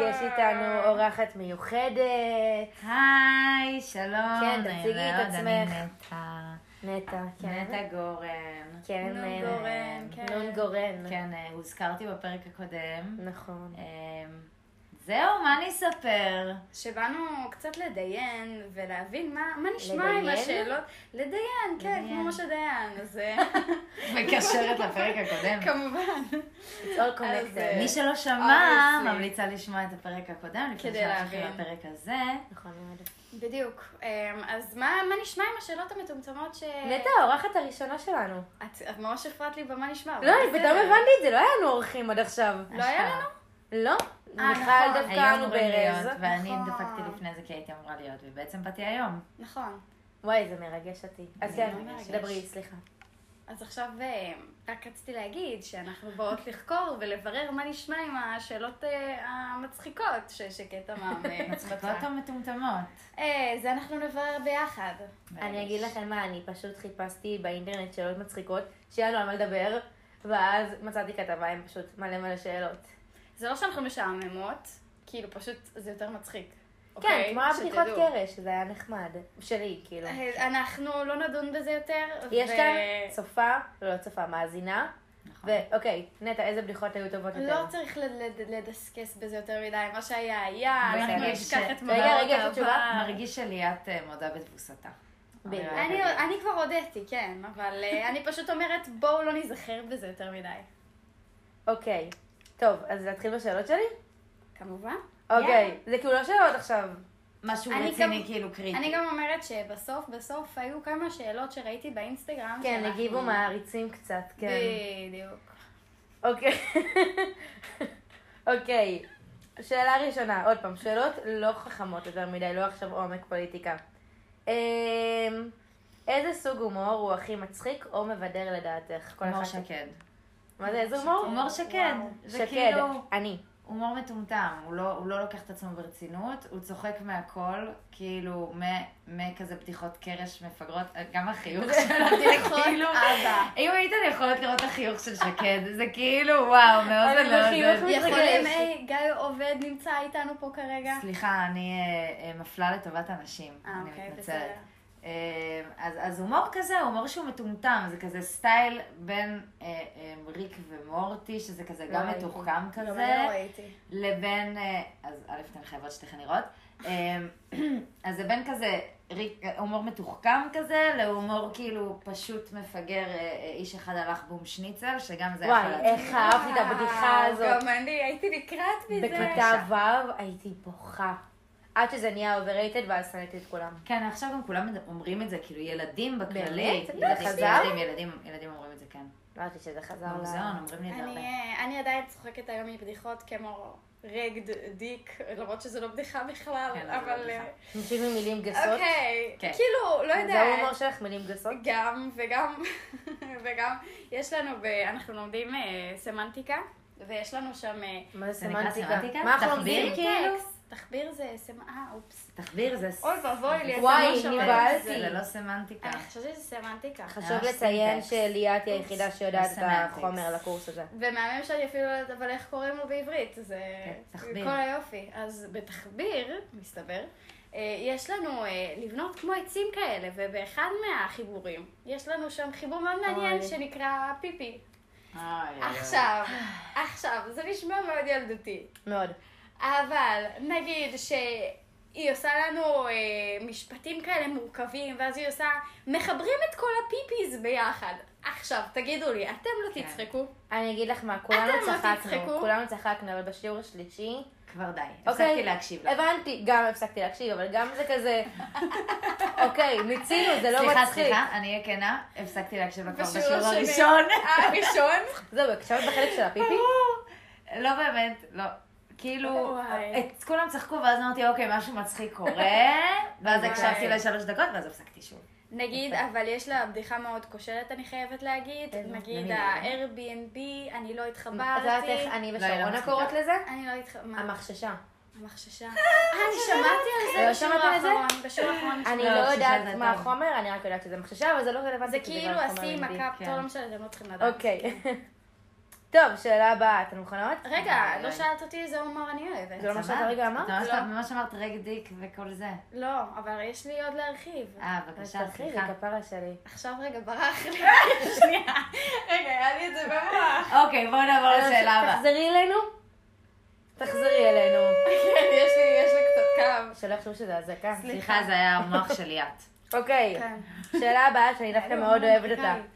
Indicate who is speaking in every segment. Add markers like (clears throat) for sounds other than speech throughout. Speaker 1: איתנו אורחת מיוחדת,
Speaker 2: היי, שלום.
Speaker 1: כן, תציגי
Speaker 2: נעים
Speaker 1: את
Speaker 2: מאוד,
Speaker 1: עצמך.
Speaker 2: אני נטע.
Speaker 1: נטע, כן.
Speaker 2: נטע גורן.
Speaker 1: כן,
Speaker 3: נון
Speaker 1: אה,
Speaker 3: גורן, כן.
Speaker 1: נון גורן.
Speaker 2: כן, אה, הוזכרתי בפרק הקודם.
Speaker 1: נכון.
Speaker 2: אה, זהו, מה אני
Speaker 1: (laughs)
Speaker 2: אספר?
Speaker 3: שבאנו קצת לדיין ולהבין מה, מה נשמע עם
Speaker 1: לדיין?
Speaker 3: השאלות. לדיין, כן,
Speaker 2: לדיין.
Speaker 3: כמו משה דיין,
Speaker 1: (laughs)
Speaker 3: אז אה,
Speaker 2: מקשרת לפרק הקודם.
Speaker 3: כמובן.
Speaker 1: It's all
Speaker 3: אז, אה,
Speaker 1: connected.
Speaker 2: מי שלא שמע,
Speaker 3: obviously.
Speaker 2: ממליצה לשמוע את הפרק הקודם, לפני
Speaker 3: כדי
Speaker 2: שהולכים
Speaker 3: להבין.
Speaker 2: לפרק הזה.
Speaker 1: נכון מאוד.
Speaker 3: בדיוק. אמ, אז מה, מה נשמע עם השאלות המטומטמות ש...
Speaker 1: נטע האורחת הראשונה שלנו.
Speaker 3: את, את ממש הפרעת לי במה נשמע. אבל
Speaker 1: לא, אני
Speaker 3: בסדר.
Speaker 1: פתאום הבנתי את זה, לא היה לנו אורחים עד עכשיו.
Speaker 3: לא היה לנו?
Speaker 1: לא? מיכל
Speaker 3: נכון.
Speaker 1: דווקא
Speaker 2: היו
Speaker 1: אנו
Speaker 2: אמורים
Speaker 1: ברז.
Speaker 2: להיות, ואני
Speaker 3: נכון.
Speaker 2: דפקתי לפני זה כי הייתי אמורה להיות, ובעצם באתי היום.
Speaker 3: נכון.
Speaker 1: וואי, זה מרגש אותי. אז
Speaker 2: זה
Speaker 1: כן,
Speaker 3: מרגש.
Speaker 1: דברי, סליחה.
Speaker 3: אז עכשיו אמ, רק רציתי להגיד שאנחנו באות (laughs) לחקור ולברר מה נשמע עם השאלות אה, המצחיקות ש- שקטע מה...
Speaker 1: (laughs)
Speaker 2: מצחיקות או מטומטמות?
Speaker 3: אה, זה אנחנו נברר ביחד.
Speaker 1: אני אגיד לכם מה, אני פשוט חיפשתי באינטרנט שאלות מצחיקות, שיהיה לנו על מה לדבר, ואז מצאתי כתבה עם פשוט מלא מלא שאלות.
Speaker 3: זה לא שאנחנו משעממות, כאילו פשוט זה יותר מצחיק.
Speaker 1: כן,
Speaker 3: אוקיי?
Speaker 1: כמו הבדיחות
Speaker 3: שתדעו.
Speaker 1: קרש, זה היה נחמד. שלי, כאילו.
Speaker 3: אה, אנחנו לא נדון בזה יותר.
Speaker 1: יש
Speaker 3: ו-
Speaker 1: כאן צופה, לא צופה, מאזינה,
Speaker 2: נכון.
Speaker 1: ואוקיי, נטע, איזה בדיחות היו טובות יותר?
Speaker 3: לא צריך לד- לד- לדסקס בזה יותר מדי, מה שהיה היה,
Speaker 2: בואי
Speaker 3: אנחנו
Speaker 2: נגיד
Speaker 3: נשכח
Speaker 2: ש-
Speaker 1: רגע,
Speaker 3: את מאורעות
Speaker 1: רגע, יש עוד תשובה?
Speaker 3: העבר.
Speaker 2: מרגיש שליאת אה, מודה בתבוסתה.
Speaker 1: בדיוק.
Speaker 3: אני- אני כבר הודיתי, כן, אבל אה, אני פשוט אומרת, בואו לא ניזכר בזה יותר מדי.
Speaker 1: אוקיי. טוב, אז להתחיל בשאלות שלי?
Speaker 3: כמובן.
Speaker 1: אוקיי. זה כאילו לא שאלות עכשיו.
Speaker 2: משהו
Speaker 3: אני
Speaker 2: רציני
Speaker 3: גם-
Speaker 2: כאילו קריטי.
Speaker 3: אני גם אומרת שבסוף, בסוף היו כמה שאלות שראיתי באינסטגרם.
Speaker 1: כן,
Speaker 3: שאנחנו-
Speaker 1: הגיבו מעריצים קצת, כן.
Speaker 3: בדיוק.
Speaker 1: אוקיי. אוקיי. שאלה ראשונה, עוד פעם, שאלות לא חכמות יותר מדי, לא עכשיו עומק פוליטיקה. אמ, איזה סוג הומור הוא הכי מצחיק או מבדר לדעתך? כל
Speaker 2: הומור
Speaker 1: אחת-
Speaker 2: שקד.
Speaker 1: מה זה, איזה הומור?
Speaker 2: הומור שקד. זה
Speaker 1: שקד,
Speaker 2: כאילו
Speaker 1: אני.
Speaker 2: הומור מטומטם. הוא לא- הוא לא לוקח את עצמו ברצינות, הוא צוחק מהכל, כאילו, מ- מכזה בדיחות קרש מפגרות, אה, גם
Speaker 3: (laughs)
Speaker 2: החיוך שלו,
Speaker 3: בדיחות
Speaker 2: כאילו...
Speaker 3: אבא.
Speaker 2: אם הייתם יכולות לראות את החיוך של שקד, זה כאילו, וואו, מאוד
Speaker 1: אני בחיוך
Speaker 2: מאוד...
Speaker 1: מתרגשת.
Speaker 3: יכולים, היי, גיא עובד נמצא איתנו פה כרגע.
Speaker 2: סליחה, אני אה, אה, מפלה לטובת הנשים.
Speaker 3: אה,
Speaker 2: אני
Speaker 3: אוקיי,
Speaker 2: מתנצלת.
Speaker 3: בסדר.
Speaker 2: אה, אז, אז הומור כזה, הומור שהוא מטומטם, זה כזה סטייל בין אה, אה, ריק ומורטי, שזה כזה
Speaker 1: לא
Speaker 2: גם
Speaker 1: ראיתי.
Speaker 2: מתוחכם
Speaker 3: לא,
Speaker 2: כזה,
Speaker 3: אני לא ראיתי.
Speaker 2: לבין, אה, אז א', אתן חייבות שתיכן לראות, אה, (clears throat) אז זה בין כזה ריק, אה, הומור מתוחכם כזה, להומור כאילו פשוט מפגר, אה, אה, איש אחד הלך בום שניצל, שגם זה
Speaker 1: וואי,
Speaker 2: יכול אה, להצליח.
Speaker 1: איך אהבתי את הבדיחה הזאת.
Speaker 3: גם אני, הייתי לקראת מזה.
Speaker 1: בכיתה ו' הייתי בוכה. עד שזה נהיה overrated ואז שנאתי את כולם.
Speaker 2: כן, עכשיו גם כולם מד- אומרים את זה, כאילו ילדים בכללי,
Speaker 1: באמת? זה
Speaker 2: ילדים,
Speaker 1: חזר?
Speaker 2: ילדים, ילדים, ילדים אומרים את זה, כן.
Speaker 1: לא ידעתי שזה חזר ל...
Speaker 2: במוזיאון אומרים לי את זה הרבה.
Speaker 3: אני, אה, אני עדיין צוחקת היום מבדיחות כמו רגד דיק, למרות שזו לא בדיחה בכלל,
Speaker 2: כן, אבל
Speaker 3: אבל...
Speaker 2: זה לא
Speaker 3: אה,
Speaker 1: נשים ממלים גסות.
Speaker 3: אוקיי,
Speaker 2: כן.
Speaker 3: כאילו, לא
Speaker 1: זה
Speaker 3: יודעת.
Speaker 1: ההומור שלך, מילים גסות?
Speaker 3: גם, וגם, (laughs) וגם, יש לנו, ב- אנחנו לומדים אה, סמנטיקה, ויש לנו שם... אה,
Speaker 1: מה זה
Speaker 2: זה נקרא
Speaker 1: סמנטיקה?
Speaker 2: סמנטיקה?
Speaker 1: מה אנחנו
Speaker 2: תחביר?
Speaker 1: לומדים כאילו?
Speaker 3: טקסט. תחביר זה סמ... אה, אופס.
Speaker 2: תחביר זה...
Speaker 3: אוי ואבוי לי, אתה
Speaker 1: וואי,
Speaker 3: לא שומע.
Speaker 1: נבהלתי.
Speaker 2: זה לא סמנטיקה.
Speaker 1: אה.
Speaker 3: אני חשבתי שזה סמנטיקה.
Speaker 1: חשוב
Speaker 2: ממש
Speaker 1: לציין
Speaker 2: סינטקס.
Speaker 1: שליאת היא היחידה שיודעת את
Speaker 2: אה, סמנטיקס. אה,
Speaker 1: החומר לקורס הזה.
Speaker 3: ומהמם שאני אפילו לא יודעת, אבל איך קוראים לו בעברית, זה
Speaker 2: כן, תחביר.
Speaker 3: כל היופי. אז בתחביר, מסתבר, אה, יש לנו אה, לבנות כמו עצים כאלה, ובאחד מהחיבורים, יש לנו שם חיבור מאוד מעניין
Speaker 1: אוי.
Speaker 3: שנקרא פיפי.
Speaker 2: אוי, אוי, אוי.
Speaker 3: עכשיו, עכשיו, זה נשמע מאוד ילדותי.
Speaker 1: מאוד.
Speaker 3: אבל נגיד שהיא עושה לנו אה, משפטים כאלה מורכבים, ואז היא עושה, מחברים את כל הפיפיז ביחד. עכשיו, תגידו לי, אתם לא
Speaker 2: כן.
Speaker 3: תצחקו?
Speaker 1: אני אגיד לך מה, כולנו
Speaker 3: אתם לא
Speaker 1: צחקנו,
Speaker 3: תצחקו.
Speaker 1: כולנו צחקנו, אבל בשיעור השלישי...
Speaker 2: כבר די. הפסקתי
Speaker 1: אוקיי,
Speaker 2: להקשיב לך.
Speaker 1: הבנתי, גם הפסקתי להקשיב, אבל גם זה
Speaker 2: (laughs)
Speaker 1: כזה... אוקיי, מיצינו, זה לא מצחיק. לא
Speaker 2: סליחה, סליחה, אני אהיה כנה, הפסקתי להקשיב לך כבר
Speaker 3: בשיעור
Speaker 2: בשיעור
Speaker 3: השני.
Speaker 2: הראשון.
Speaker 3: לא
Speaker 1: (laughs)
Speaker 3: אה, הראשון?
Speaker 1: זהו, הקשבת בחלק של הפיפי?
Speaker 2: אה, לא באמת, לא. כאילו,
Speaker 1: אוקיי,
Speaker 3: וואי.
Speaker 2: את כולם צחקו, ואז אמרתי, אוקיי, משהו מצחיק
Speaker 1: (laughs)
Speaker 2: קורה, ואז
Speaker 3: וואי.
Speaker 2: הקשבתי לשלוש דקות, ואז הפסקתי שוב.
Speaker 3: נגיד, אבל יש לה בדיחה מאוד כושלת, אני חייבת להגיד.
Speaker 1: איזה?
Speaker 3: נגיד
Speaker 2: למי?
Speaker 3: ה-Airbnb, אני לא
Speaker 1: אה? את יודעת
Speaker 3: התחברתי.
Speaker 1: איך אני
Speaker 2: לא, היא לא
Speaker 1: ושרונה
Speaker 2: מצחיקה.
Speaker 1: קוראות לזה?
Speaker 3: אני לא התחברתי.
Speaker 1: המחששה.
Speaker 3: המחששה. אה, אני שמעתי על זה
Speaker 1: לא
Speaker 3: בשיעור
Speaker 1: שמעת על זה?
Speaker 3: האחרון. בשיעור האחרון
Speaker 1: אני
Speaker 2: לא,
Speaker 1: לא
Speaker 2: המחששה
Speaker 1: יודעת
Speaker 2: זה
Speaker 1: מה
Speaker 2: טוב.
Speaker 1: החומר, אני רק יודעת שזה מחששה, אבל (laughs) זה לא רלוונטי.
Speaker 3: זה
Speaker 1: כי
Speaker 3: כאילו
Speaker 1: כבר
Speaker 3: עשי
Speaker 1: חומר
Speaker 3: עם
Speaker 1: לימודי.
Speaker 3: הקפטור,
Speaker 2: כן.
Speaker 3: לא משנה, אתם לא צריכים לדעת.
Speaker 1: אוקיי. (laughs) טוב, שאלה הבאה, אתן מוכנות?
Speaker 3: רגע, לא שאלת אותי איזה הומור אני
Speaker 1: אה, זה לא
Speaker 3: אוהבת.
Speaker 1: מה שאת הרגע אמרת?
Speaker 2: זה ממש
Speaker 3: לא.
Speaker 2: ממש אמרת רג דיק וכל זה.
Speaker 3: לא, אבל יש לי עוד להרחיב.
Speaker 2: אה,
Speaker 1: אז
Speaker 2: בבקשה,
Speaker 1: תתחילי,
Speaker 2: סליחה.
Speaker 1: כפרה שלי.
Speaker 3: עכשיו רגע, ברח לי. שנייה. רגע, היה לי את זה במוח.
Speaker 2: אוקיי, בואו נעבור
Speaker 1: אה,
Speaker 2: לשאלה הבאה.
Speaker 1: תחזרי אלינו? תחזרי אלינו.
Speaker 3: כן, יש לי, יש לי קצת קו.
Speaker 1: שלא יחשבו שזה אזעקה.
Speaker 2: סליחה, זה היה המוח של ליאת.
Speaker 1: אוקיי,
Speaker 3: כן. אוקיי.
Speaker 1: שאלה הבאה שאני דווקא
Speaker 3: אלו,
Speaker 1: מאוד אוהבת אותה.
Speaker 3: אמריקאי.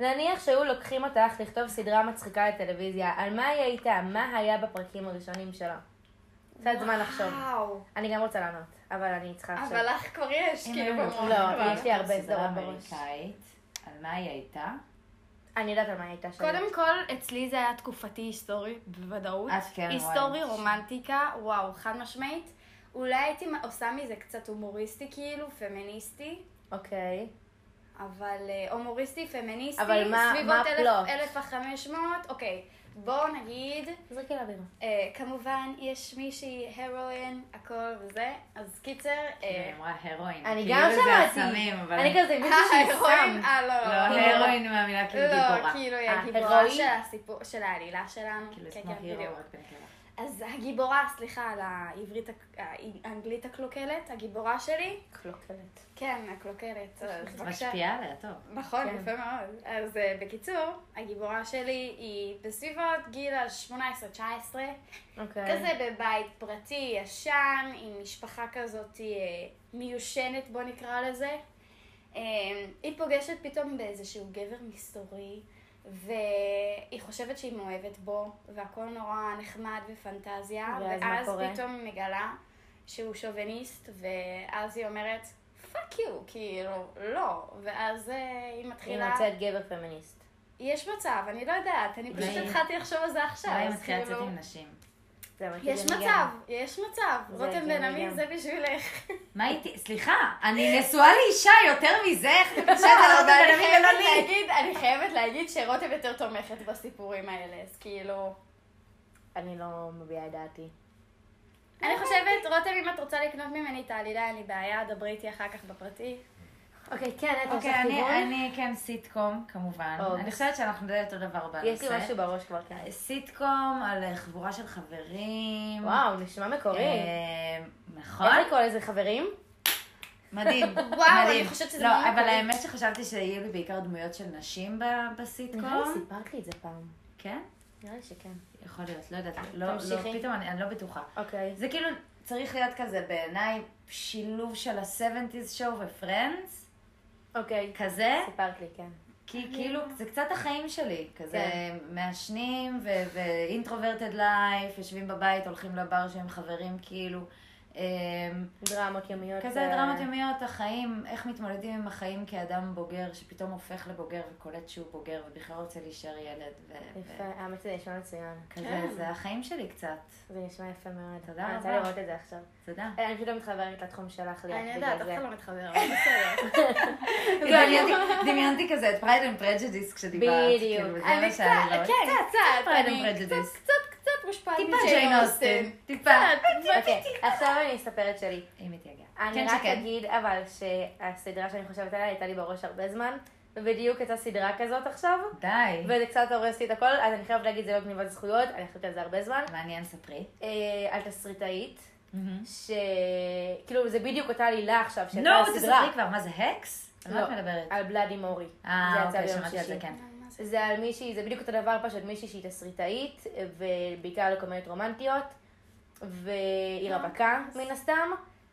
Speaker 1: נניח שהיו לוקחים אותך לכתוב סדרה מצחיקה לטלוויזיה, על מה היא הייתה? מה היה בפרקים הראשונים שלה? קצת זמן לחשוב.
Speaker 3: וואו.
Speaker 1: אני גם רוצה לענות, אבל אני צריכה עכשיו.
Speaker 3: אבל לך כבר יש,
Speaker 2: אם
Speaker 3: כאילו,
Speaker 2: היו
Speaker 3: במוח.
Speaker 2: נותנים
Speaker 1: לא,
Speaker 3: כבר.
Speaker 1: יש לי הרבה
Speaker 2: סדרה
Speaker 1: סדרות בראש.
Speaker 2: אמריקאית, על מה היא הייתה?
Speaker 1: אני יודעת על מה היא הייתה שם.
Speaker 3: קודם כל, אצלי זה היה תקופתי היסטורי, בוודאות.
Speaker 2: את כן, וואי.
Speaker 3: היסטורי, רומנטיקה, וואו, חד משמעית. אולי הייתי עושה מזה קצת הומוריסטי, כאילו, פמיניסטי.
Speaker 1: אוקיי.
Speaker 3: אבל אה, הומוריסטי, פמיניסטי,
Speaker 1: אבל מה-
Speaker 3: סביבות
Speaker 1: מה
Speaker 3: אלף-
Speaker 1: הפלוט?
Speaker 3: 1,500, אוקיי. בואו נגיד,
Speaker 1: זרקי לאוויר.
Speaker 3: אה, כמובן, יש מישהי, הרואין, הכל וזה, אז קיצר,
Speaker 2: היא
Speaker 3: אה,
Speaker 2: אמרה הרואין.
Speaker 1: אני
Speaker 2: כאילו
Speaker 1: גם
Speaker 2: זה
Speaker 1: שמעתי.
Speaker 2: הסמים, אבל-
Speaker 1: אני
Speaker 2: (laughs)
Speaker 1: כזה מישהו שהיא
Speaker 3: (laughs) ההרואין,
Speaker 1: סם.
Speaker 3: אה, לא,
Speaker 2: לא,
Speaker 3: לא,
Speaker 2: הרואין מהמילה כאילו
Speaker 3: לא,
Speaker 2: גיבורה.
Speaker 3: כאילו, היא
Speaker 1: אה,
Speaker 3: הגיבורה
Speaker 1: הרואין?
Speaker 3: של הסיפור, של העלילה שלנו,
Speaker 2: כאילו,
Speaker 3: כן,
Speaker 2: it's
Speaker 3: כן,
Speaker 2: not hero,
Speaker 3: בדיוק.
Speaker 2: רק בן כאילו.
Speaker 3: אז הגיבורה, סליחה על העברית, הק- האנגלית הקלוקלת, הגיבורה שלי,
Speaker 1: קלוקלת.
Speaker 3: כן, הקלוקלת, אז
Speaker 2: זה
Speaker 3: בבקשה.
Speaker 2: משפיע עליה, טוב.
Speaker 3: נכון,
Speaker 1: כן.
Speaker 3: יפה מאוד. אז אה, בקיצור, הגיבורה שלי היא בסביבות גיל ה-18-19,
Speaker 1: אוקיי.
Speaker 3: כזה בבית פרטי ישן, עם משפחה כזאת אה, מיושנת, בוא נקרא לזה. אה, היא פוגשת פתאום באיזשהו גבר מסתורי, והיא חושבת שהיא מאוהבת בו, והכל נורא נחמד ופנטזיה,
Speaker 1: ואז מה
Speaker 3: ואז
Speaker 1: קורה?
Speaker 3: פתאום היא מגלה שהוא שוביניסט, ואז היא אומרת, פאק יו, כאילו, לא. ואז אה, היא
Speaker 1: היא
Speaker 3: מתחילה...
Speaker 1: מוצאת גבר פמיניסט.
Speaker 3: יש מצב, אני לא יודעת, אני פשוט
Speaker 2: אולי-
Speaker 3: התחלתי לחשוב על זה עכשיו.
Speaker 2: אולי היא
Speaker 3: אז
Speaker 2: לא, מתחילה לצאת
Speaker 3: כאילו-
Speaker 2: עם נשים.
Speaker 1: זה אמרתי,
Speaker 3: יש
Speaker 1: זה אני
Speaker 3: מצב,
Speaker 1: גם.
Speaker 3: יש מצב.
Speaker 1: זה
Speaker 3: רותם
Speaker 1: הגיוני
Speaker 3: בן עמי
Speaker 1: גם.
Speaker 3: זה בשבילך.
Speaker 2: מה הייתי, סליחה, אני נשואה לאישה יותר
Speaker 1: (laughs)
Speaker 2: מזה, איך את חושבת
Speaker 1: לא,
Speaker 2: על הרבה
Speaker 3: אני
Speaker 2: אנשים ולא
Speaker 3: חייבת
Speaker 2: לי?
Speaker 3: להגיד- אני חייבת להגיד שרותם יותר תומכת בסיפורים האלה, אז כאילו...
Speaker 1: אני לא מביעה את דעתי.
Speaker 3: אני חושבת, רותם, אם את רוצה לקנות ממני את העלילה, אין לי בעיה, דברי איתי אחר כך בפרטי.
Speaker 1: אוקיי, כן, את
Speaker 2: אוקיי,
Speaker 1: עושה כיוון.
Speaker 2: אני- אני כן סיטקום, כמובן.
Speaker 1: אוקיי.
Speaker 2: אני חושבת שאנחנו די אותו דבר בנושא.
Speaker 1: יש לי משהו בראש כבר, כן.
Speaker 2: אה, סיטקום על אה, חבורה של חברים.
Speaker 1: וואו, נשמע מקורי.
Speaker 2: אה, נכון.
Speaker 1: איך לקרוא לזה חברים?
Speaker 2: מדהים.
Speaker 3: וואו,
Speaker 2: מדהים.
Speaker 3: אני חושבת שזה
Speaker 2: לא,
Speaker 3: מאוד
Speaker 2: אבל
Speaker 3: מקורי.
Speaker 2: האמת שחשבתי שיהיו לי בעיקר דמויות של נשים ב-
Speaker 1: נראה לי
Speaker 2: בסיטקום.
Speaker 1: סיפרת לי לא את זה פעם.
Speaker 2: כן?
Speaker 1: נראה לי שכן.
Speaker 2: יכול להיות, לא יודעת. לא,
Speaker 1: תמשיכי.
Speaker 2: לא, פתאום אני אני לא בטוחה.
Speaker 1: אוקיי.
Speaker 2: זה כאילו צריך להיות כזה בעיניי שילוב של ה-70's show ופרנדס,
Speaker 1: אוקיי.
Speaker 2: כזה,
Speaker 1: סיפרת לי, כן.
Speaker 2: כי כאילו זה קצת החיים שלי, כזה
Speaker 1: כן.
Speaker 2: מעשנים ואינטרוברטד לייף, יושבים בבית, הולכים לבר שהם חברים כאילו. אמ,
Speaker 1: דרמות יומיות. אה,
Speaker 2: כזה דרמות יומיות, החיים, איך מתמודדים עם החיים כאדם בוגר, שפתאום הופך לבוגר וקולט שהוא בוגר ובכלל רוצה להישאר ילד. ו-
Speaker 1: יפה, האמת שזה נשמע מצוין.
Speaker 2: וכזה,
Speaker 3: כן.
Speaker 2: זה החיים שלי קצת.
Speaker 1: זה נשמע יפה מאוד.
Speaker 2: תודה
Speaker 1: אני רוצה
Speaker 2: רבה.
Speaker 1: לראות את זה עכשיו.
Speaker 2: תודה.
Speaker 1: אה, אני פשוט לא מתחברת לתחום שלך, ליאת,
Speaker 3: אני
Speaker 1: בגלל
Speaker 3: יודעת, אף
Speaker 1: זה.
Speaker 3: אחד לא מתחבר, אבל בסדר.
Speaker 2: (laughs) דמיינתי- לא, דמיינתי כזה את פרייד אנד פרג'דיס כשדיברת.
Speaker 1: בדיוק.
Speaker 2: כאילו, זה
Speaker 3: אני
Speaker 2: מה שהיה לי
Speaker 3: קצת,
Speaker 2: בראש.
Speaker 3: כן, קצת,
Speaker 2: Pride and
Speaker 3: אני
Speaker 2: Prejudice.
Speaker 3: קצת, קצת, קצת מושפעת
Speaker 2: טיפה ג'יין אוסטן. טיפה.
Speaker 1: אוקיי, עכשיו אני אספר את שלי.
Speaker 2: אם היא תגיע.
Speaker 1: אני
Speaker 2: כן
Speaker 1: רק
Speaker 2: שכן.
Speaker 1: אגיד, אבל שהסדרה שאני חושבת עליה הייתה לי בראש הרבה זמן, ובדיוק הייתה סדרה כזאת עכשיו,
Speaker 2: די.
Speaker 1: וזה קצת הורס לי את הכל, אז אני חייבת להגיד, זה לא גניבת זכויות, אני חושבת על זה הרבה זמן.
Speaker 2: מעניין, ספרי.
Speaker 1: אה, על תסריטאית,
Speaker 2: מהמם.
Speaker 1: ש... כאילו, זה בדיוק אותה עלילה עכשיו, שהייתה
Speaker 2: נו,
Speaker 1: הסדרה.
Speaker 2: תספרי כבר, מה זה הקס? על מה
Speaker 1: לא,
Speaker 2: את מדברת?
Speaker 1: על בלאדי מורי. זה
Speaker 2: אה,
Speaker 1: יצא
Speaker 2: אוקיי,
Speaker 1: ביום
Speaker 2: שמעתי על זה,
Speaker 1: שישי.
Speaker 2: כן.
Speaker 1: זה על מישהי, זה בדיוק אותו דבר, פשוט מישהי שהיא תסריטאית, ובעיקר לקומדיות רומנטיות, והיא רווקה, מן הסתם,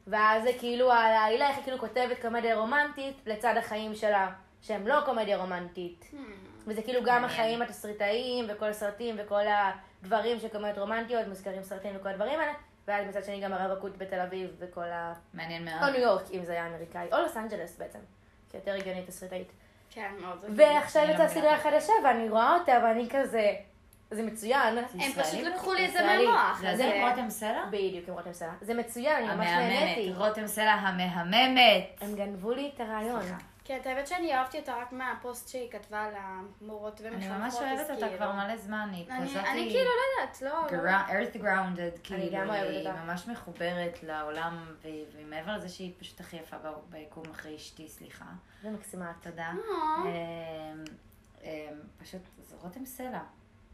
Speaker 1: ואז זה כאילו על העלילה, איך היא כאילו כותבת קומדיה רומנטית לצד החיים שלה, שהם לא קומדיה רומנטית.
Speaker 3: אה, Hmm,
Speaker 1: וזה כאילו גם
Speaker 2: מעניין.
Speaker 1: החיים התסריטאיים, וכל הסרטים, וכל הדברים של קומדיות רומנטיות, מוזכרים סרטים וכל הדברים האלה, ואז מצד שני גם הרווקות בתל אביב, וכל ה...
Speaker 2: מעניין
Speaker 1: או
Speaker 2: מאוד.
Speaker 1: ניו יורק, אם זה היה אמריקאי, או לוס אנג'לס בעצם, כי יותר הגיונית תסריטאית.
Speaker 3: כן, מאוד. זה כאילו-
Speaker 1: ועכשיו
Speaker 2: אני לא
Speaker 1: יצאה
Speaker 2: מבינה.
Speaker 1: הסדרה החדשה, ואני רואה אותה, ואני כזה... זה מצוין.
Speaker 3: הם פשוט
Speaker 2: ישראלי?
Speaker 3: לקחו לי את זה
Speaker 1: ישראלי.
Speaker 3: מהמוח.
Speaker 2: זה
Speaker 3: אז,
Speaker 2: זה
Speaker 3: אה,
Speaker 2: רותם סלע?
Speaker 1: בדיוק, עם רותם סלע. זה מצוין, אני ממש נהניתי.
Speaker 2: המהממת, רותם סלע המהממת.
Speaker 1: הם גנבו לי את הרעיון.
Speaker 2: סליחה.
Speaker 3: כן, את האמת שאני אהבתי אותה רק מהפוסט שהיא כתבה על המורות
Speaker 2: אני
Speaker 3: ומחנכות.
Speaker 2: ממש
Speaker 3: אז
Speaker 2: אוהבת אותה
Speaker 3: כאילו-
Speaker 2: כבר מלא זמן, היא
Speaker 3: אני
Speaker 2: כזאת...
Speaker 3: אני כאילו לא יודעת, לא... לא-
Speaker 2: earth grounded,
Speaker 1: גם
Speaker 2: כאילו,
Speaker 1: אוהבת
Speaker 2: היא
Speaker 1: אותה.
Speaker 2: ממש מחוברת לעולם, והיא- והיא מעבר לזה שהיא פשוט הכי יפה ב- ביקום אחרי אשתי, סליחה.
Speaker 1: זה מקסימה.
Speaker 2: תודה.
Speaker 3: אה.
Speaker 2: אמ, אמ, פשוט, זה רותם סלע.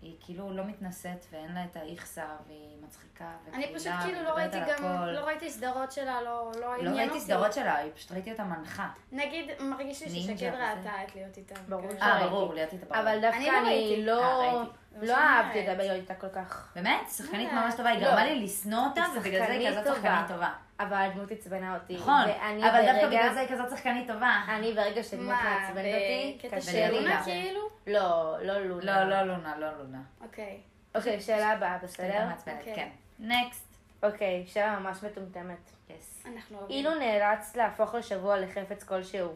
Speaker 2: היא כאילו לא מתנשאת ואין לה את האיכסה והיא מצחיקה וקלילה.
Speaker 3: אני פשוט כאילו לא
Speaker 2: ומדברת
Speaker 3: ראיתי
Speaker 2: על
Speaker 3: גם,
Speaker 2: הכל.
Speaker 3: לא ראיתי סדרות שלה, לא לא
Speaker 2: לא
Speaker 3: עניין אותי.
Speaker 2: ראיתי סדרות שלה, היא פשוט ראיתי אותה מנחה.
Speaker 3: נגיד, מרגיש לי
Speaker 2: נינג'ה
Speaker 3: ששקד
Speaker 2: וזה.
Speaker 3: ראתה את להיות איתה.
Speaker 1: ברור
Speaker 3: כן.
Speaker 1: שלא
Speaker 2: אה,
Speaker 1: לא ראיתי.
Speaker 2: ברור, ליאת הייתה
Speaker 1: אבל
Speaker 2: ברור.
Speaker 1: דווקא
Speaker 3: אני לא
Speaker 1: אני
Speaker 3: ראיתי.
Speaker 1: לא
Speaker 2: אה, ראיתי.
Speaker 3: זה מה
Speaker 1: לא
Speaker 3: שאני
Speaker 1: אהבתי אותה
Speaker 3: אומרת.
Speaker 1: בגלל הייתה כל כך.
Speaker 2: באמת? שחקנית
Speaker 3: לא.
Speaker 2: ממש טובה, היא
Speaker 1: לא.
Speaker 2: גרמה לי לשנוא אותה,
Speaker 1: היא
Speaker 2: ובגלל זה היא
Speaker 1: שחקנית
Speaker 2: כזאת
Speaker 1: טובה.
Speaker 2: שחקנית טובה.
Speaker 1: אבל הדמות עצבנה אותי.
Speaker 2: נכון,
Speaker 1: ואני
Speaker 2: אבל דווקא
Speaker 1: ברגע-
Speaker 2: בגלל זה היא כזאת שחקנית טובה.
Speaker 1: אני ברגע שדמות
Speaker 3: מה,
Speaker 1: מעצבנת אותי,
Speaker 3: בקטע
Speaker 1: קשה
Speaker 3: של
Speaker 1: לי
Speaker 3: לונה
Speaker 1: גם.
Speaker 3: כאילו?
Speaker 1: לא, לא לונה.
Speaker 2: לא, לא לונה, לא לונה.
Speaker 3: אוקיי.
Speaker 1: אוקיי, שאלה הבאה, בסדר?
Speaker 2: הייתה מעצבנת,
Speaker 3: אוקיי.
Speaker 2: כן. נקסט.
Speaker 1: אוקיי, שאלה ממש מטומטמת.
Speaker 2: יס.
Speaker 3: אנחנו אוהבים.
Speaker 1: אוקיי. אילו נאלץ להפוך לשבוע לחפץ כלשהו,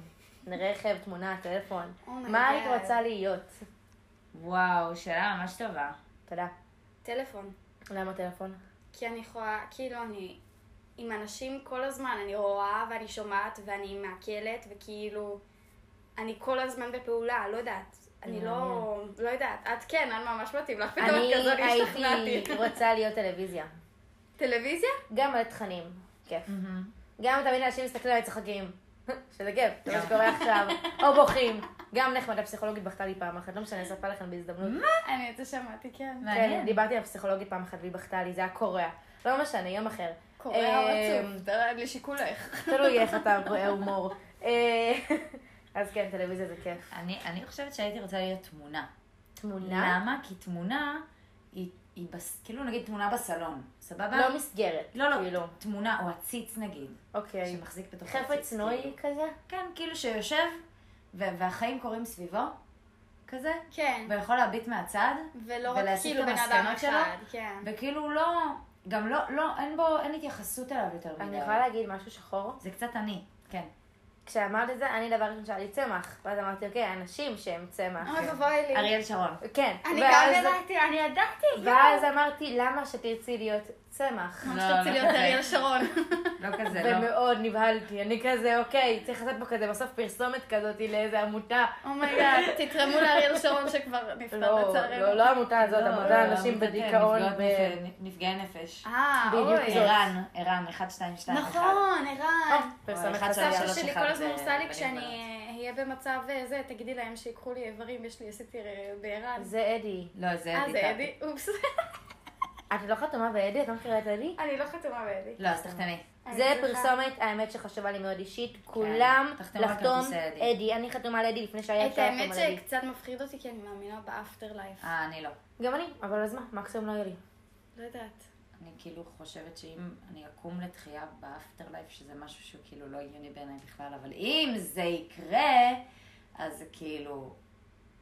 Speaker 1: רכב, תמונה, טלפון,
Speaker 3: אומייגאד.
Speaker 1: מה היית רוצה להיות?
Speaker 2: וואו, שאלה ממש טובה.
Speaker 1: תודה.
Speaker 3: טלפון.
Speaker 1: למה טלפון?
Speaker 3: כי אני יכולה, כאילו אני עם אנשים כל הזמן, אני רואה ואני שומעת ואני מעכלת, וכאילו, אני כל הזמן בפעולה, לא יודעת. אני לא, לא יודעת. את כן, את ממש מתאים לך, פתאום
Speaker 1: אני
Speaker 3: את כזאת
Speaker 1: הייתי
Speaker 3: השתכנעתי.
Speaker 1: רוצה להיות טלוויזיה.
Speaker 3: טלוויזיה?
Speaker 1: גם על תכנים, כיף. גם תמיד אנשים מסתכלים עליי צוחקים, (laughs) שזה כיף, זה מה שקורה עכשיו, או בוכים. גם נחמד, הפסיכולוגית בכתה לי פעם אחת, לא משנה, אני אספר לכם בהזדמנות.
Speaker 3: אני את זה שמעתי, כן.
Speaker 1: כן,
Speaker 2: מעניין.
Speaker 1: דיברתי עם הפסיכולוגית פעם אחת והיא בכתה לי, זה היה קורע. לא משנה, יום אחר. אה,
Speaker 3: תראה לשיקולך.
Speaker 1: תלוי איך אתה רואה הומור. אה, אז כן, טלוויזיה זה כיף.
Speaker 2: אני אני חושבת שהייתי רוצה להיות תמונה.
Speaker 1: תמונה?
Speaker 2: למה? כי תמונה היא היא בס- כאילו נגיד תמונה בסלון, סבבה?
Speaker 1: לא מסגרת.
Speaker 2: לא,
Speaker 1: כאילו.
Speaker 2: לא, תמונה או עציץ נגיד,
Speaker 1: אוקיי.
Speaker 2: שמחזיק בתוך
Speaker 1: חפץ נוי
Speaker 2: כאילו.
Speaker 1: כזה?
Speaker 2: כן, כאילו שיושב ו- והחיים קורים סביבו, כזה,
Speaker 3: כן.
Speaker 2: ויכול להביט מהצד,
Speaker 3: ולא רק
Speaker 2: ולהסיק
Speaker 3: כאילו
Speaker 2: את
Speaker 3: בן אדם
Speaker 2: המסקנות
Speaker 3: אחד, כן.
Speaker 2: וכאילו הוא לא, גם לא, לא, אין בו, אין התייחסות אליו יותר
Speaker 1: אני
Speaker 2: מדי.
Speaker 1: יכולה להגיד משהו שחור?
Speaker 2: זה קצת אני, כן.
Speaker 1: כשאמרת את זה, אני דבר ראשון שהיה לי צמח. ואז אמרתי, אוקיי, אנשים שהם צמח.
Speaker 3: אוי ואבוי לי.
Speaker 2: אריאל שרון.
Speaker 1: כן.
Speaker 3: אני גם
Speaker 1: ואז-
Speaker 3: ידעתי, אני ידעתי.
Speaker 1: ואז אמרתי, למה שתרצי להיות צמח?
Speaker 3: ממש
Speaker 2: לא,
Speaker 3: רציתי
Speaker 2: לא
Speaker 3: להיות
Speaker 2: כזה.
Speaker 3: אריאל שרון.
Speaker 2: לא כזה, לא.
Speaker 1: ומאוד נבהלתי, אני כזה, אוקיי, צריך לעשות פה כזה בסוף פרסומת כזאת לאיזה עמותה.
Speaker 3: (laughs) אומייגאד, תתרמו לאריאל שרון שכבר נפטר
Speaker 1: לא,
Speaker 3: לצערנו.
Speaker 1: לא, לא העמותה הזאת,
Speaker 2: לא,
Speaker 1: עמותה
Speaker 2: לא,
Speaker 1: אנשים
Speaker 2: עמותת,
Speaker 1: בדיכאון.
Speaker 2: נפגעות
Speaker 1: ו-
Speaker 2: נפש- נפגעי נפש.
Speaker 3: אה,
Speaker 1: בדיוק
Speaker 3: אוי.
Speaker 1: זאת.
Speaker 2: ערן, ערן, 1, 2, 2, 1.
Speaker 3: נכון,
Speaker 1: או,
Speaker 3: ערן.
Speaker 1: פרסומת
Speaker 2: אחד
Speaker 1: חסר.
Speaker 2: שלוש,
Speaker 3: סבתא
Speaker 2: שלוש,
Speaker 3: שלי
Speaker 2: אחד,
Speaker 3: כל הזמן
Speaker 2: אה,
Speaker 3: עושה לי
Speaker 1: לא
Speaker 2: בנים
Speaker 3: כשאני אה, אהיה במצב אה, זה, תגידי להם שיקחו לי איברים, יש לי, עשיתי אה, בערן.
Speaker 1: זה אדי.
Speaker 2: לא, זה
Speaker 3: אה,
Speaker 2: אדי.
Speaker 3: זה
Speaker 2: טאטי.
Speaker 3: אדי? אופס. (laughs)
Speaker 1: את לא חתומה באדי? את לא מכירה את אדי?
Speaker 3: אני לא חתומה באדי.
Speaker 2: לא, אז תחתמי.
Speaker 3: אני
Speaker 1: זה
Speaker 3: צריכה-
Speaker 1: פרסומת, האמת שחשבה לי מאוד אישית, כולם
Speaker 2: תחתמו כן. על
Speaker 1: לחתום
Speaker 2: כרטיסי אדי.
Speaker 1: אדי. אני חתומה על אדי לפני שהיה
Speaker 3: את
Speaker 1: אפשר לחתום
Speaker 3: האמת
Speaker 1: על אדי.
Speaker 3: שקצת מפחיד אותי, כי אני מאמינה באפטר לייף.
Speaker 2: אה, אני לא.
Speaker 1: גם אני, אבל אז מה, מקסימום לא יהיה לי.
Speaker 3: לא יודעת.
Speaker 2: אני כאילו חושבת שאם אני אקום לתחייה באפטר לייף, שזה משהו שהוא כאילו לא הגיוני בעיניי בכלל, אבל אם זה יקרה, אז כאילו,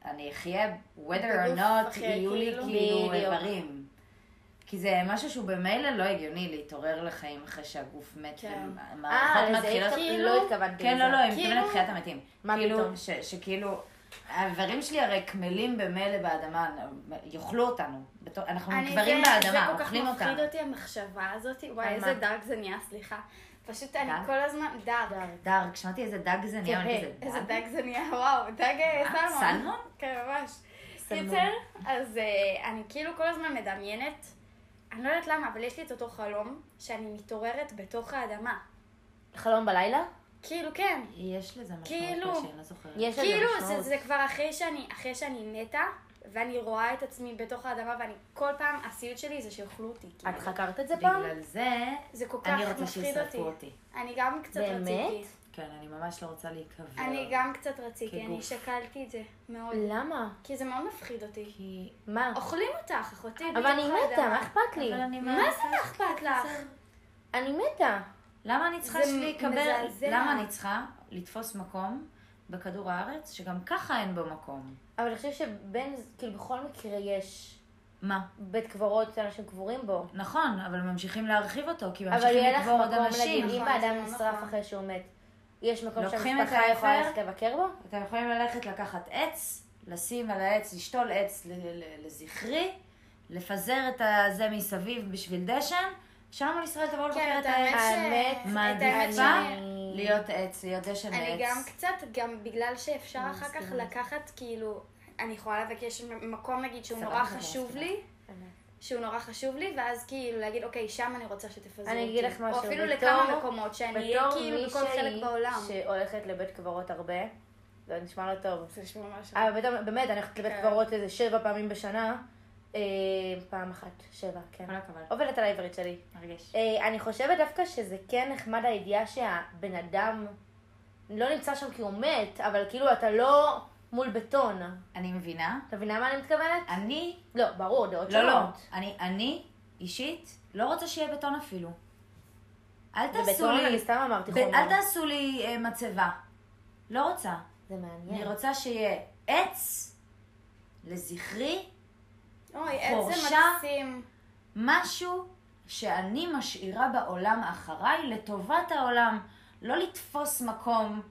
Speaker 2: אני אחיה, whether or
Speaker 3: בגוף
Speaker 2: not,
Speaker 3: אחר,
Speaker 2: יהיו לי
Speaker 3: כאילו.
Speaker 2: כאילו
Speaker 1: בדיוק.
Speaker 2: איברים. כי זה משהו שהוא במילא לא הגיוני להתעורר לחיים אחרי שהגוף מת,
Speaker 3: כן.
Speaker 1: אה,
Speaker 2: ומערכות
Speaker 1: לזה
Speaker 2: מתחילות...
Speaker 1: התכו-
Speaker 3: כאילו-
Speaker 1: לא התכוונתי
Speaker 2: כן,
Speaker 1: לזה.
Speaker 2: לא, לא, היא מתכוונת
Speaker 3: כאילו-
Speaker 2: תחיית המתים.
Speaker 1: מה
Speaker 2: כאילו,
Speaker 1: פתאום?
Speaker 2: ש- שכאילו, האיברים שלי הרי קמלים במילא באדמה, יאכלו אותנו. בתור- אנחנו
Speaker 3: אני-
Speaker 2: נקברים
Speaker 3: זה-
Speaker 2: באדמה, אוכלים
Speaker 3: זה כל כך
Speaker 2: אותנו.
Speaker 3: מפחיד אותי המחשבה הזאת. וואי,
Speaker 1: על
Speaker 3: איזה
Speaker 1: מה?
Speaker 3: דארק זה נהיה, סליחה. פשוט אני
Speaker 2: דארק?
Speaker 3: כל הזמן... דארק.
Speaker 2: דארק, שמעתי איזה דג זה נהיה,
Speaker 1: תראה,
Speaker 2: אני כזה
Speaker 3: כן, אה, איזה
Speaker 2: דג.
Speaker 3: דג זה נהיה, וואו, דג אה,
Speaker 2: מה?
Speaker 3: סלמון.
Speaker 2: סלמון?
Speaker 3: כן, ממש.
Speaker 1: סלמון.
Speaker 3: קיצר, אז אה, אני כאילו כל הזמן מדמיינת, אני לא יודעת למה, אבל יש לי את אותו חלום שאני מתעוררת בתוך האדמה.
Speaker 1: חלום בלילה?
Speaker 3: כאילו, כן.
Speaker 2: יש לזה משמעות
Speaker 3: כאילו-
Speaker 2: כלשהי, אני לא זוכרת.
Speaker 1: יש לזה
Speaker 3: כאילו, זה,
Speaker 1: משמעות.
Speaker 3: זה כבר אחרי שאני, אחרי שאני מתה, ואני רואה את עצמי בתוך האדמה, ואני כל פעם, הסיוט שלי זה שיאכלו אותי. כאילו.
Speaker 1: את חקרת את זה פעם?
Speaker 2: בגלל זה,
Speaker 3: זה כל כך
Speaker 2: אני רוצה
Speaker 3: מפחיד אותי.
Speaker 2: שישרפו אותי.
Speaker 3: אני גם קצת
Speaker 1: באמת?
Speaker 3: רציתי.
Speaker 2: כן, אני ממש לא רוצה להיקבר.
Speaker 3: אני גם קצת רציתי, אני
Speaker 2: כגוף.
Speaker 3: שקלתי את זה מאוד.
Speaker 1: למה?
Speaker 3: כי זה מאוד מפחיד אותי.
Speaker 2: כי...
Speaker 1: מה?
Speaker 3: אוכלים אותך, אחותי,
Speaker 1: אבל אני
Speaker 3: בתוך
Speaker 1: מתה,
Speaker 3: האדמה.
Speaker 1: מה אכפת לי?
Speaker 2: אבל אני
Speaker 3: מה
Speaker 2: מעדיפה-
Speaker 3: זה מה אכפת לך?
Speaker 1: אני מתה.
Speaker 2: למה אני צריכה
Speaker 3: זה
Speaker 2: להיקבר?
Speaker 3: מזעזע.
Speaker 2: למה אני צריכה לתפוס מקום בכדור הארץ שגם ככה אין בו מקום?
Speaker 1: אבל אני חושבת שבין, כאילו בכל מקרה יש
Speaker 2: מה?
Speaker 1: בית קברות שאנשים קבורים בו.
Speaker 2: נכון, אבל ממשיכים להרחיב אותו, כי
Speaker 1: אבל
Speaker 2: ממשיכים
Speaker 1: יהיה לך
Speaker 2: לקבור עוד
Speaker 1: מקום
Speaker 2: אנשים.
Speaker 1: להגיד, אם
Speaker 3: נכון, זה
Speaker 1: באדם
Speaker 3: לא
Speaker 1: נשרף
Speaker 3: נכון.
Speaker 1: אחרי שהוא מת, יש מקום
Speaker 2: לוקחים
Speaker 1: שהמשפחה
Speaker 2: את
Speaker 1: יכולה
Speaker 2: האפר?
Speaker 1: ללכת לבקר בו?
Speaker 2: אתם יכולים ללכת לקחת עץ, לשים על העץ, לשתול עץ ל- ל- לזכרי, לפזר את הזה מסביב בשביל דשן, שלום על ישראל תבואו לבקר
Speaker 3: כן,
Speaker 2: את
Speaker 3: את האמת
Speaker 2: העץ.
Speaker 1: האמת,
Speaker 3: ש... את האמת
Speaker 2: מעדיפה
Speaker 3: שאני-
Speaker 2: להיות עץ, להיות דשן לעץ.
Speaker 3: אני גם קצת, גם בגלל שאפשר
Speaker 2: אני
Speaker 3: אחר כך
Speaker 2: מסכימה.
Speaker 3: לקחת, כאילו, אני יכולה לבקש מקום, נגיד, שהוא
Speaker 2: סבבה,
Speaker 3: נורא
Speaker 2: זה
Speaker 3: חשוב
Speaker 2: מסכימה.
Speaker 3: לי, שהוא נורא חשוב לי, ואז כאילו להגיד, אוקיי, שם אני רוצה שתפזרו אותי.
Speaker 1: אני אגיד לך משהו,
Speaker 3: או אפילו
Speaker 1: בתור-
Speaker 3: לכמה מקומות, שאני אהיה
Speaker 1: בתור
Speaker 3: כאילו בכל חלק בעולם.
Speaker 1: מישהי שהולכת לבית קברות הרבה, זה נשמע לא טוב.
Speaker 3: זה נשמע ממש...
Speaker 1: אבל באמת, באמת, אני הולכת לבית
Speaker 3: כן.
Speaker 1: קברות איזה שבע פעמים בשנה, אה, פעם אחת, שבע, כן.
Speaker 2: כל הכבוד.
Speaker 1: עובדת על העברית שלי.
Speaker 2: מרגש.
Speaker 1: אה, אני חושבת דווקא שזה כן נחמד הידיעה שהבן אדם לא נמצא שם כי הוא מת, אבל כאילו אתה לא מול בטון.
Speaker 2: אני מבינה.
Speaker 1: אתה מבינה מה אני מתכוונת?
Speaker 2: אני,
Speaker 1: לא, ברור, דעות
Speaker 2: אה. לא, לא.
Speaker 1: שונות.
Speaker 2: אני, אני, אישית, לא רוצה שיהיה בטון אפילו. אל
Speaker 1: זה
Speaker 2: תעשו
Speaker 1: בטון,
Speaker 2: לי...
Speaker 1: אני סתם אמרתי
Speaker 2: ב-
Speaker 1: חומר.
Speaker 2: אל תעשו לי אה, מצבה. לא רוצה.
Speaker 1: זה
Speaker 2: אני
Speaker 1: מעניין.
Speaker 2: רוצה שיהיה עץ לזכרי
Speaker 3: אוי, איזה
Speaker 2: חורשה.
Speaker 3: מקסים.
Speaker 2: משהו שאני משאירה בעולם אחריי לטובת העולם, לא לתפוס מקום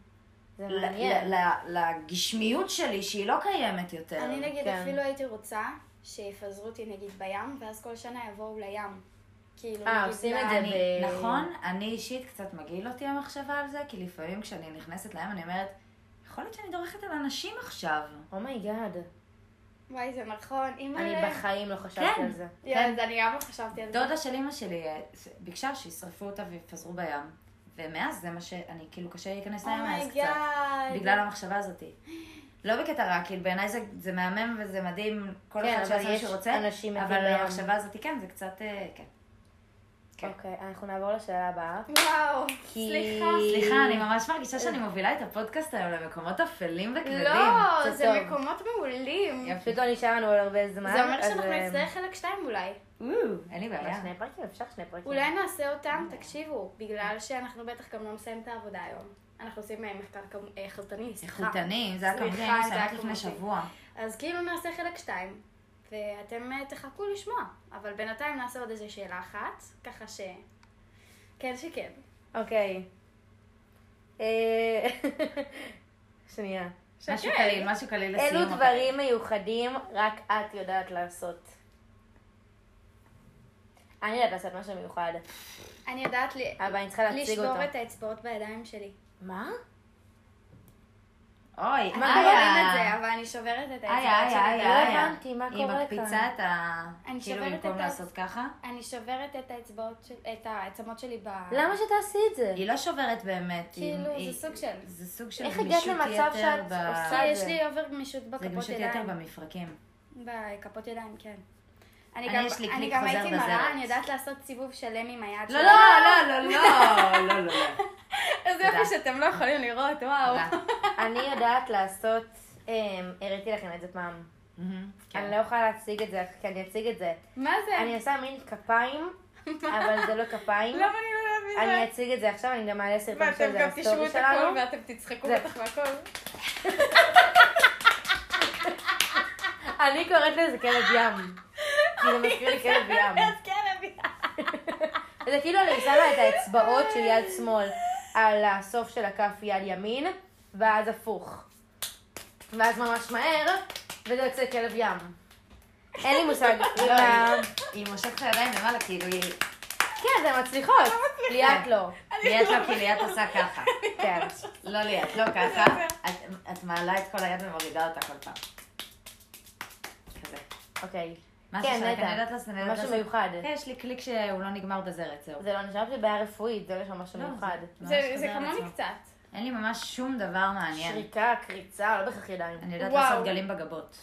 Speaker 1: זה
Speaker 2: ל-
Speaker 1: מעניין.
Speaker 2: ל- ל- לגשמיות שלי שהיא לא קיימת יותר.
Speaker 3: אני נגיד
Speaker 1: כן.
Speaker 3: אפילו הייתי רוצה שיפזרו אותי נגיד בים, ואז כל שנה יבואו לים. כאילו,
Speaker 1: אה,
Speaker 3: נגיד
Speaker 1: עושים את
Speaker 3: ל-
Speaker 1: זה
Speaker 2: אני,
Speaker 1: ב-
Speaker 2: נכון, אני אישית קצת מגעיל אותי המחשבה על זה, כי לפעמים כשאני נכנסת לים אני אומרת, יכול להיות שאני דורכת על אנשים עכשיו.
Speaker 1: אומייגאד.
Speaker 3: וואי, זה נכון. אימא...
Speaker 1: Oh אני בחיים לא חשבתי
Speaker 2: כן.
Speaker 1: על זה.
Speaker 3: יואי, אז אני גם לא חשבתי על זה.
Speaker 2: דודה של אימא שלי אה, ביקשה שישרפו אותה ויפזרו בים, ומאז זה מה שאני, כאילו קשה לי להיכנס
Speaker 3: Oh
Speaker 2: לים מאז קצת.
Speaker 3: אומייגאד.
Speaker 2: בגלל המחשבה הזאת. לא בקטע רע, כאילו בעיניי זה, זה מהמם וזה מדהים, כל
Speaker 1: כן,
Speaker 2: אחד
Speaker 1: אבל
Speaker 2: שעושה מה
Speaker 1: יש
Speaker 2: שהוא רוצה,
Speaker 1: אנשים מתים
Speaker 2: אבל
Speaker 1: בים.
Speaker 2: המחשבה הזאת, כן, זה קצת, אה, כן. כן.
Speaker 1: אוקיי, אנחנו נעבור לשאלה הבאה.
Speaker 3: וואו,
Speaker 1: כי- אה.
Speaker 3: סליחה.
Speaker 2: סליחה, אני ממש מרגישה שאני מובילה את הפודקאסט היום למקומות אפלים וכבדים.
Speaker 3: לא,
Speaker 1: זה
Speaker 3: זה
Speaker 1: טוב.
Speaker 3: מקומות מעולים.
Speaker 2: יפה.
Speaker 1: פשוט לא נשאר לנו עוד הרבה זמן.
Speaker 3: זה אומר
Speaker 1: אז,
Speaker 3: שאנחנו
Speaker 1: אה,
Speaker 3: נצטרך חלק שתיים אולי.
Speaker 2: או, אין לי
Speaker 1: אבל
Speaker 2: בעיה.
Speaker 1: שני פרקים, אפשר שני פרקים.
Speaker 3: אולי נעשה אותם, תקשיבו, בגלל שאנחנו בטח גם לא נסיים את העבודה היום. אנחנו עושים אה, מחקר כמו- אה, חלטני, סליחה.
Speaker 2: איכותנים, זה היה
Speaker 3: סליחה,
Speaker 2: כמובן אני
Speaker 3: זה היה
Speaker 2: מסיימת לפני
Speaker 3: כמותי.
Speaker 2: שבוע.
Speaker 3: אז כאילו נעשה חלק שתיים, ואתם אה, תחכו לשמוע. אבל בינתיים נעשה עוד איזה שאלה אחת, ככה ש... כן שכן.
Speaker 1: אוקיי. אה, (laughs) שנייה.
Speaker 2: משהו קליל, משהו קליל לסיום.
Speaker 1: אילו
Speaker 2: אבל.
Speaker 1: דברים מיוחדים רק את יודעת לעשות? אני יודעת לעשות משהו מיוחד,
Speaker 3: אני יודעת ל...
Speaker 1: אה, אבל אני צריכה להציג אותו.
Speaker 3: לשבור את האצבעות בידיים שלי.
Speaker 1: מה?
Speaker 2: אוי,
Speaker 3: אתם
Speaker 1: מה
Speaker 3: לא רואים את
Speaker 2: איה.
Speaker 3: זה, אבל אני שוברת את
Speaker 2: איה,
Speaker 3: האצבעות
Speaker 2: איה,
Speaker 3: שלי.
Speaker 1: לא
Speaker 2: איה, איה.
Speaker 1: הבנתי, מה
Speaker 2: היא
Speaker 1: קורה
Speaker 2: מקפיצה
Speaker 1: כאן?
Speaker 2: את ה...
Speaker 3: אני
Speaker 2: כאילו
Speaker 3: שוברת
Speaker 2: במקום
Speaker 3: את ה-
Speaker 2: לעשות ככה.
Speaker 3: אני שוברת את האצבעות, של- את העצמות שלי ב...
Speaker 1: למה שתעשי את
Speaker 3: (laughs)
Speaker 1: זה?
Speaker 2: היא לא שוברת באמת.
Speaker 3: כאילו,
Speaker 2: היא-
Speaker 3: זה
Speaker 2: היא-
Speaker 3: סוג של-
Speaker 2: זה סוג של
Speaker 1: איך
Speaker 2: גמישות
Speaker 1: הגעת
Speaker 2: יתר
Speaker 1: למצב שאת
Speaker 2: ב-
Speaker 1: עושה
Speaker 3: כי
Speaker 1: את
Speaker 3: יש
Speaker 1: זה?
Speaker 3: לי אובר גמישות
Speaker 2: זה
Speaker 3: בכפות
Speaker 2: גמישות יתר
Speaker 3: ידיים.
Speaker 2: במפרקים.
Speaker 3: בכפות ידיים, כן. אני
Speaker 2: אני,
Speaker 3: גם,
Speaker 2: יש לי
Speaker 3: אני
Speaker 2: קליק
Speaker 3: גם
Speaker 2: חוזר
Speaker 3: הייתי
Speaker 2: בזרת.
Speaker 3: מראה, אני יודעת לעשות סיבוב שלם עם היד
Speaker 2: לא,
Speaker 3: שלי.
Speaker 2: לא, לא, לא, לא, לא, לא, לא.
Speaker 3: איזה
Speaker 2: תודה.
Speaker 3: יופי שאתם לא יכולים לראות, וואו.
Speaker 2: תודה.
Speaker 1: אני יודעת לעשות, אמ, הראיתי לכם את זה פעם.
Speaker 2: מהמם,
Speaker 1: אני
Speaker 2: כן.
Speaker 1: לא יכולה להציג את זה, כי אני אציג את זה.
Speaker 3: מה זה?
Speaker 1: אני עושה מין
Speaker 3: (laughs)
Speaker 1: כפיים, אבל זה לא כפיים.
Speaker 3: למה אני כן. לא יודעת מזה?
Speaker 1: אני אציג את זה עכשיו, אני גם אעלה סרטון של
Speaker 3: ואתם
Speaker 1: זה,
Speaker 3: גם
Speaker 1: הסטורי
Speaker 3: תשמעו את הכל
Speaker 1: שלנו.
Speaker 3: ואתם תצחקו
Speaker 1: זה.
Speaker 3: בטח מהכל.
Speaker 1: אני קוראת לזה כלב
Speaker 3: (laughs)
Speaker 1: ים. כי זה מזכיר לי כלב ים.
Speaker 3: אז כן, אבי.
Speaker 1: זה כאילו אני שמה את האצבעות של יד שמאל על הסוף של הכף יד ימין, ואז הפוך. ואז ממש מהר, וזה יוצא כלב ים. אין לי
Speaker 3: (laughs)
Speaker 1: מושג. עם
Speaker 2: לא,
Speaker 1: ה-
Speaker 2: היא- היא מושכת את הידיים למעלה, כאילו היא...
Speaker 1: כן, זה מצליחות. ליאת
Speaker 3: (laughs)
Speaker 1: לא.
Speaker 2: ליאת לא, כי ליאת עושה ככה.
Speaker 1: כן.
Speaker 2: לא ליאת, לא ככה. את- את מעלה את כל היד ומורידה אותה כל פעם. כזה.
Speaker 1: אוקיי.
Speaker 2: מה
Speaker 1: כן,
Speaker 2: ששאלת,
Speaker 1: נטע.
Speaker 2: אני יודעת לעשות, אני יודעת
Speaker 1: משהו
Speaker 2: לעשות.
Speaker 1: מיוחד.
Speaker 2: כן, יש לי קליק שהוא לא נגמר בזרת, זהו.
Speaker 1: זה לא נשאר שזה בעיה רפואית, זה לא שם משהו
Speaker 2: לא,
Speaker 1: מיוחד.
Speaker 2: ממש
Speaker 3: זה- זה
Speaker 2: חוזר על עצמו.
Speaker 3: כמוני קצת.
Speaker 2: אין לי ממש שום דבר מעניין.
Speaker 1: שריקה, קריצה, לא בהכרח ידיים.
Speaker 2: אני יודעת
Speaker 3: וואו.
Speaker 2: לעשות גלים בגבות.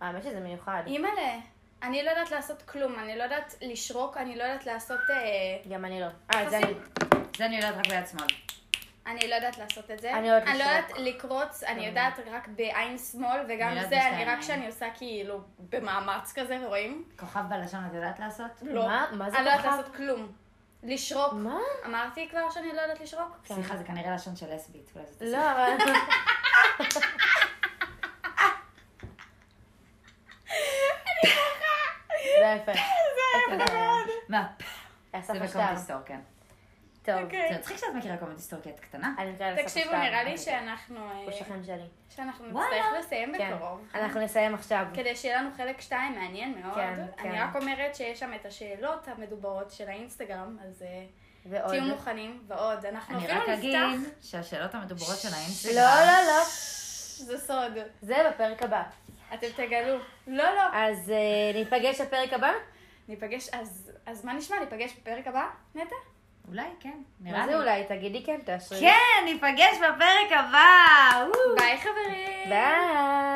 Speaker 1: האמת שזה מיוחד.
Speaker 3: אימא'לה, אני לא יודעת לעשות כלום, אני לא יודעת לשרוק, אני לא יודעת לעשות... אה,
Speaker 1: גם אני לא. אה, את זה אני...
Speaker 2: זה אני יודעת רק ביד שמאל.
Speaker 3: אני לא יודעת לעשות את זה.
Speaker 1: אני יודעת
Speaker 3: אני לא
Speaker 1: לשרוק.
Speaker 3: יודעת לקרוץ, אני יודעת רק בעין שמאל, וגם
Speaker 2: אני יודעת
Speaker 3: זה,
Speaker 2: בשתי
Speaker 3: אני רק
Speaker 2: עיניים.
Speaker 3: כשאני עושה כאילו במאמץ כזה, רואים?
Speaker 2: כוכב בלשון את יודעת לעשות?
Speaker 3: לא.
Speaker 1: מה? מה זה
Speaker 3: אני לא יודעת
Speaker 1: כוכב?
Speaker 3: לעשות כלום. לשרוק.
Speaker 1: מה?
Speaker 3: אמרתי כבר שאני לא יודעת לשרוק?
Speaker 2: סליחה, זה כנראה לשון של לסבית. אולי זאת
Speaker 1: כן. לא, אבל... זה היה יפה.
Speaker 2: הסיבה. מה?
Speaker 1: אסף
Speaker 2: זה
Speaker 1: השטר.
Speaker 2: בקומדיסטור, כן.
Speaker 1: טוב,
Speaker 3: אוקיי.
Speaker 2: זה מצחיק שאת מכירה קומדיסטור כי את קטנה.
Speaker 1: אני מקווה לאסף
Speaker 3: תקשיבו,
Speaker 1: השטר.
Speaker 3: נראה לי שאנחנו... אה,
Speaker 1: הוא שכן שלי.
Speaker 3: שאנחנו
Speaker 2: וואלה.
Speaker 3: נצטרך לסיים
Speaker 1: כן.
Speaker 3: בקרוב. כן.
Speaker 1: אנחנו נסיים עכשיו.
Speaker 3: כדי שיהיה לנו חלק 2 מעניין מאוד.
Speaker 1: כן,
Speaker 3: אני
Speaker 1: כן.
Speaker 3: רק אומרת שיש שם את השאלות המדוברות של האינסטגרם, אז אה,
Speaker 1: ועוד.
Speaker 3: תהיו מוכנים, ועוד. אנחנו
Speaker 2: אני
Speaker 3: אפילו
Speaker 2: רק אגיד
Speaker 3: נפתח,
Speaker 2: שהשאלות המדוברות של
Speaker 1: לא,
Speaker 2: האינסטגרם...
Speaker 1: לא, לא.
Speaker 3: זה סוד.
Speaker 1: זה בפרק הבא.
Speaker 3: אתם תגלו. לא, לא.
Speaker 1: אז אה, ניפגש בפרק הבא?
Speaker 3: ניפגש, אז אז מה נשמע? ניפגש בפרק הבא, נטע?
Speaker 2: אולי, כן.
Speaker 1: מה
Speaker 2: נראה לי.
Speaker 1: זה אולי? תגידי כן, תאשרי.
Speaker 2: כן, ניפגש בפרק הבא! וואו.
Speaker 3: ביי חברים!
Speaker 1: ביי.